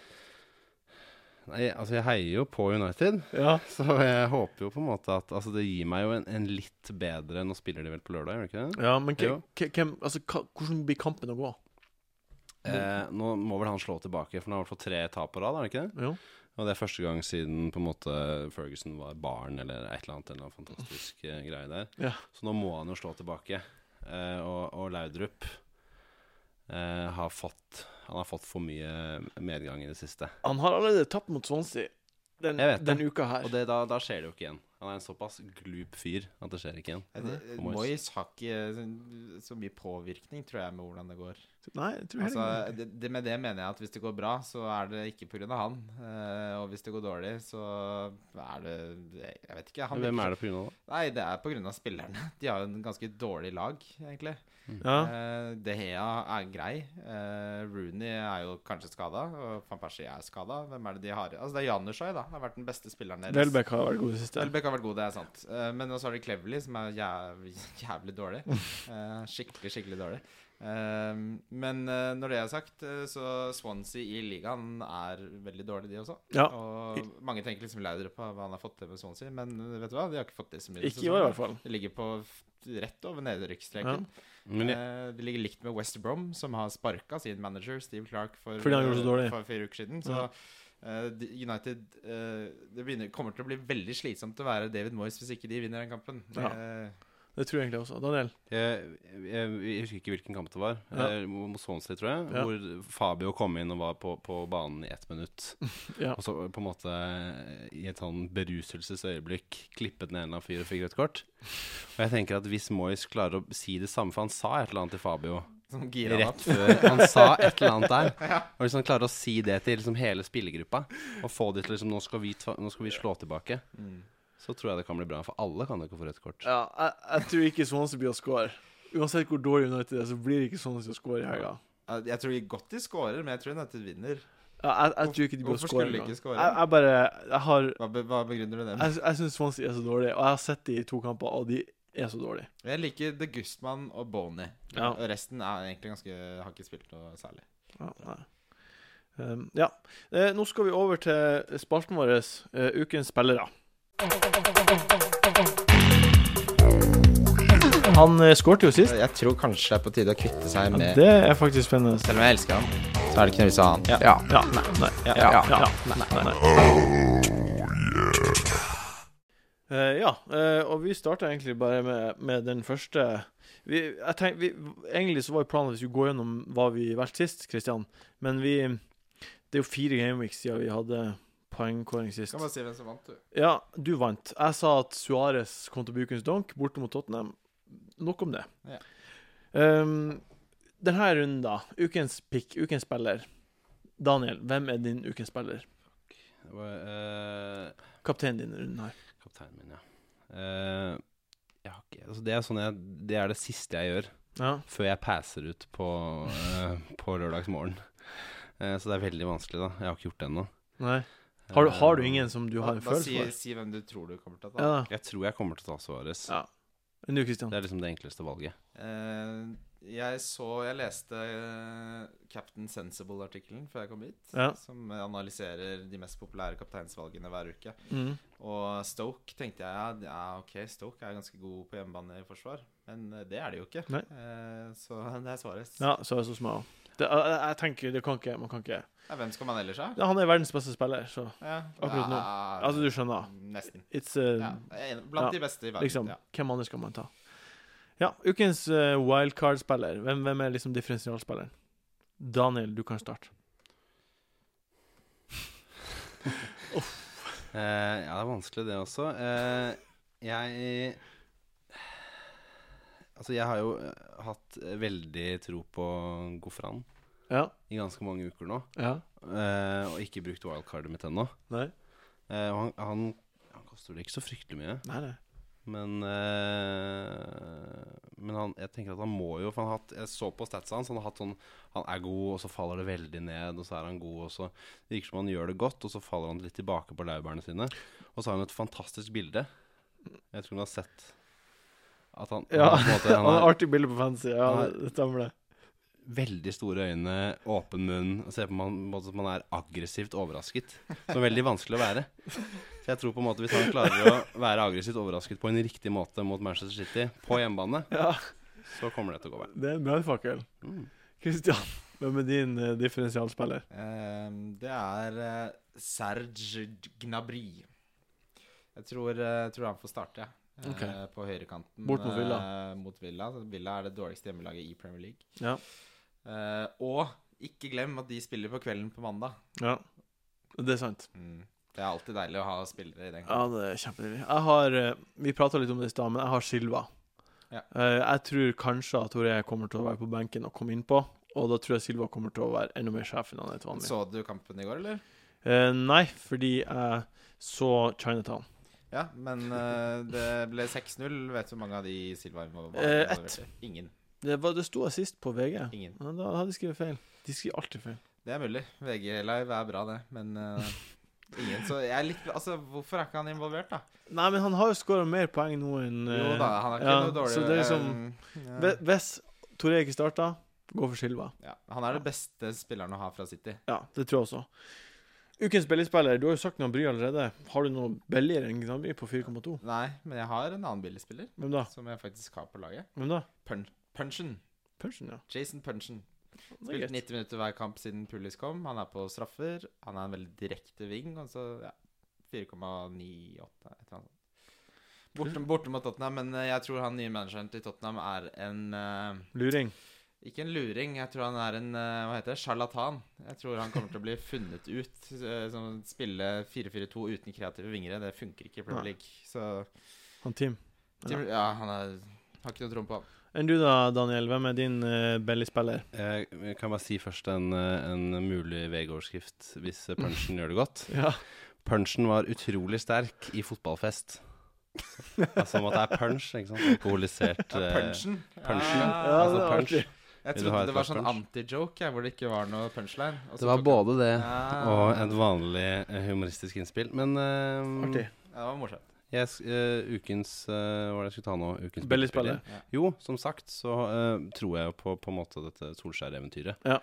Speaker 2: Nei, altså, jeg heier jo på United,
Speaker 1: Ja.
Speaker 2: så jeg håper jo på en måte at Altså, det gir meg jo en, en litt bedre Nå spiller de vel på lørdag, gjør de ikke det?
Speaker 1: ja, men
Speaker 2: Jo.
Speaker 1: hvem, hvem altså, hva- hvordan blir kampen å gå?
Speaker 3: Mm.
Speaker 2: Eh, nå må vel han slå tilbake, for han har i hvert fall tre tap på rad, er det ikke det?
Speaker 1: Jo.
Speaker 2: Og det er første gang siden på en måte Ferguson var barn, eller et eller annet. En eller annen fantastisk eh, greie der.
Speaker 1: Ja.
Speaker 2: Så nå må han jo slå tilbake. Eh, og, og Laudrup eh, har fått Han har fått for mye medgang i det siste.
Speaker 1: Han har allerede tapt mot Swansea den,
Speaker 2: Jeg vet det.
Speaker 1: den uka her.
Speaker 2: Og det, da, da skjer det jo ikke igjen. Han er en såpass glup fyr at det skjer ikke igjen.
Speaker 3: Eh, eh,
Speaker 2: Moyes.
Speaker 3: Moyes har ikke så så mye påvirkning, tror jeg, med hvordan det går.
Speaker 1: Nei, jeg tror
Speaker 3: Altså,
Speaker 1: heller ikke
Speaker 3: det, det, med det mener jeg at hvis det går bra, så er det ikke pga. han. Eh, og hvis det går dårlig, så er det Jeg vet ikke. Han
Speaker 2: Hvem er det pga. da?
Speaker 3: Nei, det er pga. spillerne. De har jo en ganske dårlig lag, egentlig.
Speaker 1: Ja,
Speaker 3: Eh, De Hea er grei. Eh, Rooney er jo kanskje skada. Og Van Persie er skada. Hvem er det de har Altså, det er Janusjoj, da. Han har vært den beste spilleren deres.
Speaker 1: Welbeck har vært god i det siste.
Speaker 3: Welbeck har vært god, det er sant. Eh, Men også har de Cleverly, som er jævlig, jævlig dårlig.
Speaker 1: Mm.
Speaker 3: Eh, Skikkelig, skikkelig dårlig. Eh, Men eh, når det er sagt, eh, så Swansea i ligaen er veldig dårlig, de også.
Speaker 1: Ja.
Speaker 3: Og mange tenker liksom laudere på hva han har fått til med Swansea, men vet du hva? De har ikke fått det så mye.
Speaker 1: Ikke i år, i hvert fall.
Speaker 3: De ligger på f- rett over nedrykksstreken.
Speaker 2: Men jeg,
Speaker 3: Eh, De ligger likt med West Brom, som har sparka sin manager Steve Clark for, eh,
Speaker 1: Fordi han gjorde det så dårlig.
Speaker 3: for fire uker siden. Så
Speaker 1: Ja.
Speaker 3: eh, de- United eh, Det begynner, kommer til å bli veldig slitsomt å være David Moyes hvis ikke de vinner den kampen.
Speaker 1: Ja.
Speaker 3: Eh,
Speaker 1: Det tror jeg egentlig også. Daniel.
Speaker 2: jeg, jeg, Eh, jeg husker ikke hvilken kamp det var.
Speaker 1: Ja.
Speaker 2: Eh, Mot Swansea, tror jeg.
Speaker 1: Ja.
Speaker 2: Hvor Fabio kom inn og var på, på banen i ett minutt.
Speaker 1: Ja.
Speaker 2: Og så på en måte i et sånn beruselsesøyeblikk klippet ned en av fyr og fikk rødt kort. Og jeg tenker at hvis Moyes klarer å si det samme, for han sa et eller annet til Fabio
Speaker 3: som girer han
Speaker 2: rett
Speaker 3: opp.
Speaker 2: før han sa et eller annet der. Og hvis han klarer å si det til liksom hele spillergruppa, og få de til liksom, nå, skal vi ta, nå skal vi slå tilbake,
Speaker 3: Mm.
Speaker 2: så tror jeg det kan bli bra. For alle kan jo ikke få rødt kort.
Speaker 1: Ja, jeg, jeg tror ikke Swansea blir å score. Uansett hvor dårlig United er, så blir det ikke Swansea å score i helga.
Speaker 3: Eh, Jeg tror godt de scorer, men jeg tror United vinner.
Speaker 1: Ja, jeg, jeg tror ikke de blir å
Speaker 3: Hvorfor
Speaker 1: score.
Speaker 3: skulle de
Speaker 1: engang.
Speaker 3: ikke score?
Speaker 1: Jeg, jeg bare Jeg har
Speaker 3: Hva, be, hva begrunner du det med?
Speaker 1: Jeg, jeg syns Swansea er så dårlig, og jeg har sett de i to kamper, og de er så dårlige.
Speaker 3: Jeg liker The Gustman og Boney.
Speaker 1: Ja.
Speaker 3: Og resten er egentlig ganske har ikke spilt noe særlig.
Speaker 1: Ja, nei. Um, ja. Eh, nå skal vi over til spalten vår, eh, Ukens spillere. Han uh, skårte jo sist.
Speaker 3: Jeg tror kanskje det er på tide å kvitte seg
Speaker 1: Ja,
Speaker 3: med
Speaker 1: det er faktisk spennende.
Speaker 3: Selv om jeg elsker han, så er det ikke noe vits i å ha han.
Speaker 1: Ja. Ja. Nei. Nei. Ja. Ja. Ja. Nei. Nei. Eh, ja, eh, og vi starter egentlig bare med, med den første vi, jeg tenk, vi, Egentlig så var jo planen at vi skulle gå gjennom hva vi valgte sist, Kristian. Men vi Det er jo fire gameweeks siden vi hadde poengkåring sist.
Speaker 3: Kan bare si hvem som vant, du.
Speaker 1: Ja, du vant. Jeg sa at Suárez kom til å bli ukens donk borte mot Tottenham. Nok om det.
Speaker 3: Ja.
Speaker 1: Um, denne runden, da. Ukens pick, ukens spiller. Daniel, hvem er din ukens spiller?
Speaker 2: Det var, eh,
Speaker 1: Kapteinen din i runden her.
Speaker 2: Kapteinen min, ja. Eh, jeg har ikke, altså det, er sånn jeg, det er det siste jeg gjør
Speaker 1: Ja.
Speaker 2: før jeg passer ut på, eh, på lørdagsmorgen. Eh, så det er veldig vanskelig, da. Jeg har ikke gjort det ennå.
Speaker 1: Nei. Har, du- har du
Speaker 2: Eh,
Speaker 1: ingen som du har en
Speaker 3: Da si,
Speaker 1: følelse for?
Speaker 3: si hvem du tror du kommer til å ta.
Speaker 1: Ja da.
Speaker 2: Jeg tror jeg kommer til å ta Suárez.
Speaker 1: Ja. Enn du, Kristian?
Speaker 2: Det er liksom det enkleste valget.
Speaker 3: Eh, jeg så Jeg leste eh, Captain Sensible-artikkelen før jeg kom hit.
Speaker 1: Ja.
Speaker 3: Som analyserer de mest populære kapteinsvalgene hver uke.
Speaker 1: Mm.
Speaker 3: Og Stoke tenkte jeg ja, ja, ok, Stoke er ganske god på hjemmebane i forsvar. Men eh, det er de jo ikke.
Speaker 1: Nei.
Speaker 3: Eh, så det er svaret.
Speaker 1: Ja, så er det så smart. Det, jeg, jeg- jeg tenker, det kan ikke Man kan ikke
Speaker 3: Ja, hvem skal man ellers ha?
Speaker 1: ja, Han er verdens beste spiller, så
Speaker 3: Ja.
Speaker 1: Akkurat nå.
Speaker 3: Ja,
Speaker 1: Altså, du skjønner.
Speaker 3: Nesten.
Speaker 1: It's uh,
Speaker 3: Ja, jeg er enig. Blant
Speaker 1: ja,
Speaker 3: de beste i verden.
Speaker 1: Liksom,
Speaker 3: Ja.
Speaker 1: Hvem andre skal man ta? Ja, ukens eh, wildcard-spiller. Hvem, hvem er liksom differensialspilleren? Daniel, du kan starte.
Speaker 2: Eh, ja, det er vanskelig, det også. Eh, jeg Altså, jeg har jo eh, hatt veldig tro på Gofran
Speaker 1: Ja.
Speaker 2: i ganske mange uker nå,
Speaker 1: Ja.
Speaker 2: eh, og ikke brukt wildcardet mitt ennå.
Speaker 1: Nei.
Speaker 2: Eh, og han, han, han koster vel ikke så fryktelig mye,
Speaker 1: Nei, nei.
Speaker 2: men eh, Men han, jeg tenker at han må jo For han har hatt, jeg så på statsa hans, han har hatt sånn Han er god, og så faller det veldig ned, og så er han god, og så Det virker som han gjør det godt, og så faller han litt tilbake på laurbærene sine. Og så har han et fantastisk bilde. Jeg vet ikke om du har sett at han,
Speaker 1: Ja,
Speaker 2: han, har på en måte,
Speaker 1: Han
Speaker 2: han
Speaker 1: har
Speaker 2: har
Speaker 1: artig bilde på fancy. Ja,
Speaker 2: Nei.
Speaker 1: det det stemmer det.
Speaker 2: veldig store øyne, åpen munn og Ser på man, på en måte som han er aggressivt overrasket. Som er veldig vanskelig å være. Så jeg tror på en måte hvis han klarer å være aggressivt overrasket på en riktig måte mot Manchester City på hjemmebane,
Speaker 1: Ja,
Speaker 2: så kommer det til å gå Mm. veien.
Speaker 1: Det er en brannfakkel. Kristian, hvem er din eh, differensialspiller?
Speaker 3: Ehm, det er eh, Serge Gnabry. Jeg tror, eh, tror han får starte, jeg. Eh,
Speaker 1: Ok.
Speaker 3: På høyrekanten.
Speaker 1: Bort mot Villa.
Speaker 3: eh, mot Villa. Villa er det dårligste hjemmelaget i Premier League.
Speaker 1: Ja.
Speaker 3: Eh, og ikke glem at de spiller på kvelden på mandag.
Speaker 1: Ja. Det er sant.
Speaker 3: Det er alltid deilig å ha spillere i den
Speaker 1: Ja,
Speaker 3: kampen.
Speaker 1: det er kjempedeilig. Jeg har eh, Vi prata litt om det i stad, men jeg har Silva.
Speaker 3: Ja.
Speaker 1: Eh, jeg tror kanskje at Toré kommer til å være på benken og komme innpå. Og da tror jeg Silva kommer til å være enda mer sjef enn han er til vanlig.
Speaker 3: Så du kampen i går, eller?
Speaker 1: Eh, nei, fordi jeg så Chinatown.
Speaker 3: Ja, men eh, det ble 6-0. Vet du hvor mange av de Silva involverte?
Speaker 1: Eh, ett.
Speaker 3: Ingen.
Speaker 1: Det, var, det sto jeg sist på VG.
Speaker 3: Ingen.
Speaker 1: Ja, da hadde jeg skrevet feil. De skriver alltid feil.
Speaker 3: Det er mulig. VG Live er bra, det. Men eh, ingen. Så jeg er litt Altså, hvorfor er ikke han involvert, da?
Speaker 1: Nei, men han har jo skåra mer poeng nå enn eh,
Speaker 3: Jo da, han er ikke
Speaker 1: ja,
Speaker 3: noe dårlig
Speaker 1: Så det er liksom
Speaker 3: eh, ja.
Speaker 1: Hve- Hvis Toré ikke starter, gå for Silva.
Speaker 3: ja, Han er den beste spilleren å ha fra City.
Speaker 1: Ja, det tror jeg også. Ukens billigspiller. Du har jo sagt noe om Bry allerede. Har du noe billigere enn Gnabry på 4,2?
Speaker 3: Nei, men jeg har en annen billigspiller
Speaker 1: Hvem da?
Speaker 3: som jeg faktisk har på laget.
Speaker 1: Hvem da?
Speaker 3: Pun Punchen.
Speaker 1: Punchen, ja.
Speaker 3: Jason Punchen.
Speaker 1: Det er
Speaker 3: Spilt
Speaker 1: greit.
Speaker 3: 90 minutter hver kamp siden Pulis kom. Han er på straffer. Han er en veldig direkte ving. Og så, ja 4,98 et eller annet. Borte, borte mot Tottenham, men eh, jeg tror han nye manageren til Tottenham er en eh,
Speaker 1: Luring.
Speaker 3: Ikke en luring, jeg tror han er en eh, hva heter det, sjarlatan. Jeg tror han kommer til å bli funnet ut. eh, Som å spille 4-4-2 uten kreative vingere, det funker ikke i Premier
Speaker 1: Nei.
Speaker 3: League. Så
Speaker 1: Han Tim.
Speaker 3: ja, ja han er, har ikke noe troen på han.
Speaker 1: Enn du da, Daniel? Hvem er din uh, billigspiller?
Speaker 2: Jeg Eh, kan bare si først en, eh, en mulig VG-overskrift hvis eh, punchen gjør det godt.
Speaker 1: Ja.
Speaker 2: Punchen var utrolig sterk i fotballfest. Altså om at det er punch, ikke sant? Alkoholisert
Speaker 3: Ja,
Speaker 2: eh,
Speaker 3: punchen.
Speaker 2: punchen, ja.
Speaker 3: Ja,
Speaker 1: Ja,
Speaker 2: altså
Speaker 1: det var
Speaker 2: punch.
Speaker 1: artig.
Speaker 3: Jeg
Speaker 2: Vil du ha
Speaker 3: trodde
Speaker 2: et
Speaker 3: det var
Speaker 2: slags
Speaker 3: sånn
Speaker 2: punch?
Speaker 3: anti-joke, jeg, hvor det ikke var noe punchline. og så
Speaker 2: Det var
Speaker 3: tok-
Speaker 2: både det
Speaker 3: Ah.
Speaker 2: og et vanlig eh, humoristisk innspill. Men eh,
Speaker 1: Artig.
Speaker 3: Ja, det var morsomt.
Speaker 2: jeg, sk- eh, ukens eh, Hva var det jeg skulle ta nå? Ukens
Speaker 1: Billigspiller.
Speaker 2: Jo, som sagt så eh, tror jeg jo på, på en måte dette Solskjær-eventyret.
Speaker 1: Ja.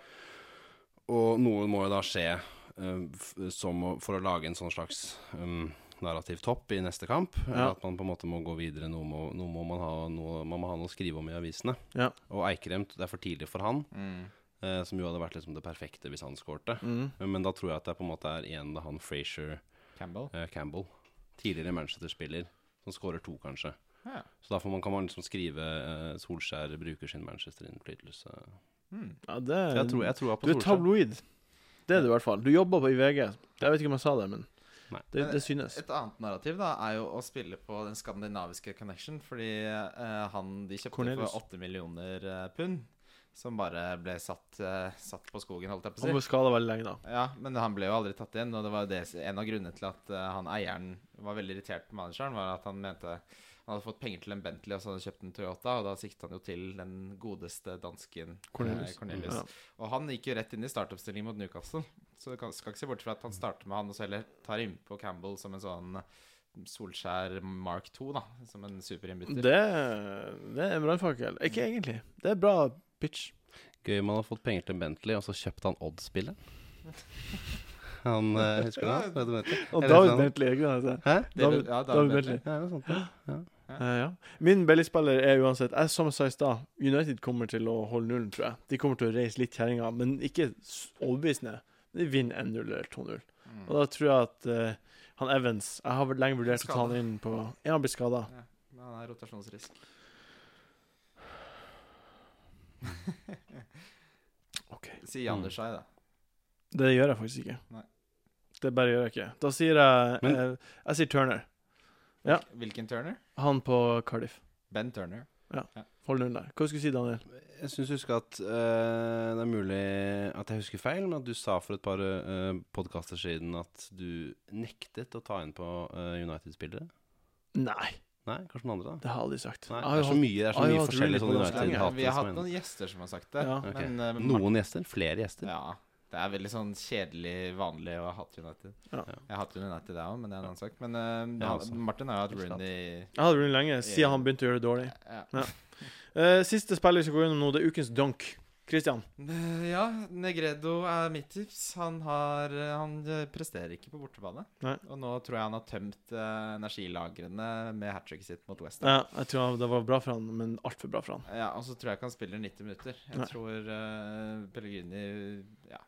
Speaker 2: Og noe må jo da skje eh, f som å, for å lage en sånn slags um, narrativ topp i neste kamp.
Speaker 1: Ja.
Speaker 2: At man på en måte må gå videre. Noe må, noe må man, ha, noe, man må ha noe å skrive om i avisene.
Speaker 1: Ja.
Speaker 2: Og Eikrem, det er for tidlig for han,
Speaker 3: Mm.
Speaker 2: eh, som jo hadde vært liksom det perfekte hvis han skårte.
Speaker 1: Mm.
Speaker 2: Men da tror jeg at det på en måte er igjen da han Frazier
Speaker 3: Campbell.
Speaker 2: eh, Campbell, tidligere Manchester-spiller, som skårer to, kanskje.
Speaker 3: Ja.
Speaker 2: Så derfor man, kan man liksom skrive eh, Solskjær bruker sin Manchester-innflytelse.
Speaker 3: Mm.
Speaker 1: Ja, det
Speaker 2: Så Jeg, tror- jeg tror
Speaker 1: Du
Speaker 2: på
Speaker 1: er
Speaker 2: Solskjær.
Speaker 1: tabloid. Det er du i hvert fall. Du jobber på i VG. Jeg vet ikke om jeg sa det, men
Speaker 2: Nei.
Speaker 1: det,
Speaker 3: Men-
Speaker 1: det synes.
Speaker 3: Et annet narrativ da er jo å spille på den skandinaviske connection, fordi eh, han de kjøpte
Speaker 1: Cornelius.
Speaker 3: for 8 millioner eh, pund, som bare ble satt, eh, satt på skogen, holdt jeg på å
Speaker 1: Han
Speaker 3: si.
Speaker 1: ble skada veldig lenge, da.
Speaker 3: Ja, men han ble jo aldri tatt igjen, og det var jo det, en av grunnene til at eh, han eieren var veldig irritert på manageren, var at han mente han hadde fått penger til en Bentley, og så hadde han kjøpt en Toyota, og da siktet han jo til den godeste dansken eh,
Speaker 1: Cornelius.
Speaker 3: Cornelius.
Speaker 1: Ja.
Speaker 3: Og han gikk jo rett inn i startoppstilling mot Newcastle, så du kan, skal ikke se bort fra at han starter med han, og så heller tar innpå Campbell som en sånn Solskjær Mark 2, da, som en superinnbytter.
Speaker 1: Det, det er en brannfakkel. Ikke egentlig. Det er bra pitch.
Speaker 2: Gøy man har fått penger til Bentley, og så kjøpte han Odd-spillet. han eh, Husker du han? David Bentley?
Speaker 1: Og
Speaker 2: Jeg
Speaker 1: David
Speaker 2: leser han.
Speaker 1: Bentley. Ikke sant?
Speaker 2: Hæ?
Speaker 1: David,
Speaker 3: ja, David
Speaker 1: David
Speaker 3: Bentley.
Speaker 1: Bentley.
Speaker 2: Ja, det er sant, det.
Speaker 1: Eh, ja. Min billigspiller er uansett jeg, Som jeg sa i stad, United kommer til å holde nullen, tror jeg. De kommer til å reise litt kjerringa, men ikke s- overbevisende. De vinner 1-0 eller 2-0.
Speaker 3: Mm.
Speaker 1: Og da tror jeg at eh, han Evans Jeg har lenge vurdert å ta han inn på Er han blitt skada?
Speaker 3: Men han er rotasjonsrisk.
Speaker 1: OK.
Speaker 3: Sier Anders Skei, da.
Speaker 1: Det gjør jeg faktisk ikke.
Speaker 3: Nei.
Speaker 1: Det bare gjør jeg ikke. Da sier jeg
Speaker 2: Men-
Speaker 1: eh, Jeg sier Turner. Ja.
Speaker 3: Hvilken Turner?
Speaker 1: Han på Cardiff.
Speaker 3: Ben Turner.
Speaker 1: Hold nullen der. Hva skulle du si, Daniel?
Speaker 2: Jeg syns jeg husker at eh, det er mulig at jeg husker feil, men at du sa for et par uh, podkaster siden at du nektet å ta inn på eh, United-spillere.
Speaker 1: Nei,
Speaker 2: Nei, kanskje noen andre, da?
Speaker 1: det har jeg aldri sagt.
Speaker 2: Nei,
Speaker 1: Jeg har
Speaker 2: det er
Speaker 1: jo
Speaker 2: så mye, det er så
Speaker 1: jeg har
Speaker 2: mye
Speaker 1: hatt
Speaker 2: forskjellig
Speaker 1: Rooney på
Speaker 2: sånn
Speaker 3: Ja,
Speaker 1: landslaget.
Speaker 2: United
Speaker 3: vi har- vi har hatt
Speaker 2: men-
Speaker 3: noen gjester som har sagt det.
Speaker 1: hatt- ja.
Speaker 2: Ok.
Speaker 3: Men eh, Martin-
Speaker 2: Noen gjester? Flere gjester?
Speaker 3: Ja. Det er veldig sånn kjedelig vanlig å ha hatt United.
Speaker 1: Ja.
Speaker 3: Jeg har hatt United, jeg òg, men det er en annen sak. Men eh,
Speaker 2: Ja,
Speaker 3: han-
Speaker 2: altså.
Speaker 3: Martin har jo hatt
Speaker 2: Ikke sant.
Speaker 3: Rooney
Speaker 1: Jeg hadde Rooney lenge, siden han begynte å gjøre det dårlig.
Speaker 3: ja.
Speaker 1: Eh, siste spiller vi skal gå gjennom nå, det er ukens dunk. Christian.
Speaker 3: Eh, ja, Negredo er mitt tips. Han, har, han eh, presterer ikke på bortebane.
Speaker 1: Nei.
Speaker 3: Og nå tror jeg han har tømt eh, energilagrene med hat tricket sitt mot West Ham.
Speaker 1: Ja, jeg tror det var bra for han, men altfor bra for han.
Speaker 3: Ja, og så tror jeg ikke han spiller 90 minutter. Jeg
Speaker 1: Nei.
Speaker 3: tror uh, Pellegrini ja,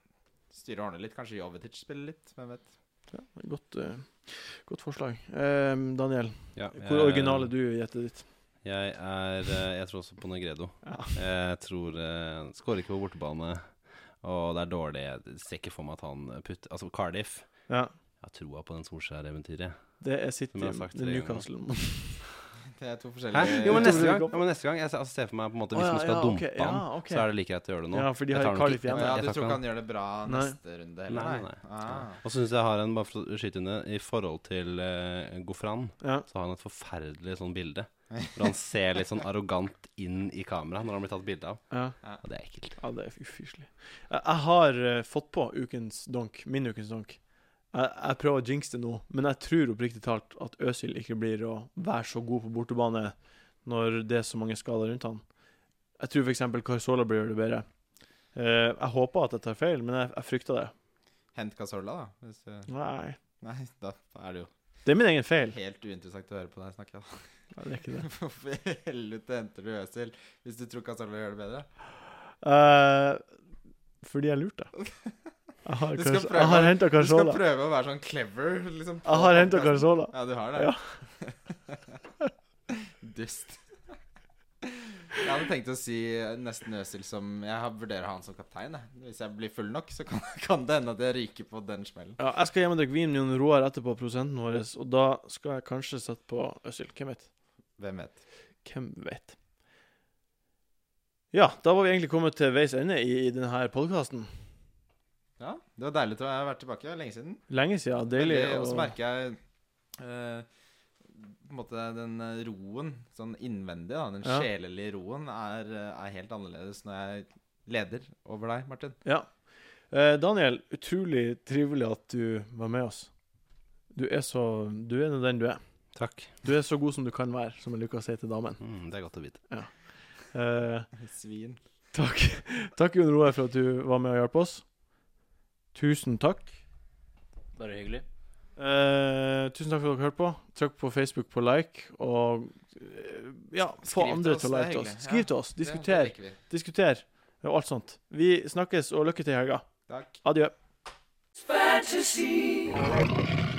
Speaker 3: styrer og ordner litt. Kanskje Jovetic spiller litt, hvem vet.
Speaker 1: Ja, godt, eh, godt forslag. Eh, Daniel,
Speaker 2: Ja,
Speaker 1: hvor original er du i gjettet ditt?
Speaker 2: Jeg er eh, Jeg tror også på Negredo.
Speaker 1: Ja.
Speaker 2: Jeg tror eh, Skårer ikke på bortebane, og det er dårlig. Jeg ser ikke for meg at han putter Altså, Cardiff Jeg har troa på den Solskjær-eventyret.
Speaker 1: Det er City
Speaker 2: Som jeg har sagt
Speaker 1: det er
Speaker 2: tre ganger.
Speaker 1: Newcastle.
Speaker 3: Det er to
Speaker 2: Hæ?
Speaker 3: forskjellige
Speaker 2: Jo, men neste gang,
Speaker 1: Kom.
Speaker 2: ja, men neste gang jeg ser, altså, ser for meg på en måte Hvis
Speaker 1: Å, ja,
Speaker 2: man skal
Speaker 1: ja,
Speaker 2: dumpe
Speaker 1: ok, ja,
Speaker 2: han,
Speaker 1: ok.
Speaker 2: så er det like greit å gjøre det nå.
Speaker 1: Ja, for de
Speaker 2: Jeg
Speaker 1: har
Speaker 2: tar den
Speaker 1: kvalif
Speaker 2: ikke.
Speaker 1: igjen,
Speaker 2: Nei,
Speaker 3: ja,
Speaker 2: jeg
Speaker 3: Du
Speaker 2: tar
Speaker 3: tror
Speaker 2: ikke
Speaker 3: ikke
Speaker 2: han.
Speaker 3: han gjør det bra
Speaker 1: Nei.
Speaker 3: neste runde heller?
Speaker 2: Nei, nei.
Speaker 3: Ah.
Speaker 2: Og så syns jeg har en, bare for å skyte inn det, i forhold til uh, Gofran,
Speaker 1: Ja.
Speaker 2: så har han et forferdelig sånn bilde. Hvor han ser litt sånn arrogant inn i kameraet når han blir tatt bilde av.
Speaker 1: Ja.
Speaker 2: Og det er ekkelt.
Speaker 1: ja, det er ufyselig. Jeg, jeg har eh, fått på ukens donk, min ukens donk. Jeg, jeg prøver å jinxe det nå, men jeg tror oppriktig talt at Øsil ikke blir å være så god på bortebane når det er så mange skader rundt han. Jeg tror f.eks. Carzola blir å gjøre det bedre. Eh, jeg håper at jeg tar feil, men jeg, jeg frykter det.
Speaker 3: Hent Casorla, da. Hvis du...
Speaker 1: Nei.
Speaker 3: Nei, da er det jo
Speaker 1: Det er min egen feil.
Speaker 3: helt uinteressant å høre på deg snakke. da.
Speaker 1: Ja, det er ikke det.
Speaker 3: Hvorfor i helvete henter du Øsil hvis du tror Casorla gjør det bedre?
Speaker 1: Eh, fordi jeg lurte. Jeg har,
Speaker 3: Du skal
Speaker 1: Cars-
Speaker 3: prøve-
Speaker 1: jeg har henta
Speaker 3: Du skal
Speaker 1: Carzola.
Speaker 3: prøve å være sånn clever. Liksom, på
Speaker 1: Jeg har henta
Speaker 3: podcasten.
Speaker 1: Carzola.
Speaker 3: Ja, du har det? Dust. Jeg hadde tenkt å si nesten Øsil som Jeg har- vurderer han som kaptein. jeg. Hvis jeg blir full nok, så kan, kan det hende at jeg ryker på den smellen.
Speaker 1: Ja, jeg skal hjem og drikke vin med Jon Roar etterpå, produsenten vår, og da skal jeg kanskje sette på Øsil. Hvem vet?
Speaker 3: Hvem vet.
Speaker 1: Hvem vet? Ja, da var vi egentlig kommet til veis ende i, i denne podkasten.
Speaker 3: Ja, Det var deilig å ha vært tilbake. Det er Lenge siden.
Speaker 1: Lenge siden. Deilig.
Speaker 3: Veldig- Og så
Speaker 1: å-
Speaker 3: merker jeg eh, på en måte den eh, roen, sånn innvendig, da, den
Speaker 1: Ja.
Speaker 3: sjelelige roen, er, eh, er helt annerledes når jeg leder over deg, Martin.
Speaker 1: Ja. Eh, Daniel, utrolig trivelig at du var med oss. Du er så Du er nå den du er.
Speaker 2: Takk.
Speaker 1: Du er så god som du kan være, som jeg liker å si til damen.
Speaker 2: Mm, det er godt å vite.
Speaker 1: Eh,
Speaker 3: Svin.
Speaker 1: Takk, takk Jon Roar, for at du var med og hjalp oss. Tusen takk.
Speaker 4: Bare hyggelig.
Speaker 1: Eh, tusen takk for at dere hørte på. Trykk på Facebook på like, og eh, ja, få
Speaker 3: Skriv til
Speaker 1: andre
Speaker 3: oss,
Speaker 1: til å
Speaker 3: det er
Speaker 1: like til oss.
Speaker 3: hyggelig.
Speaker 1: Skriv
Speaker 3: Ja,
Speaker 1: til oss.
Speaker 3: Det- det
Speaker 1: Diskuter.
Speaker 3: liker vi.
Speaker 1: Diskuter. Og alt sånt. Vi snakkes, og lykke til i helga.
Speaker 3: Takk.
Speaker 1: Adjø.
Speaker 5: fantasy.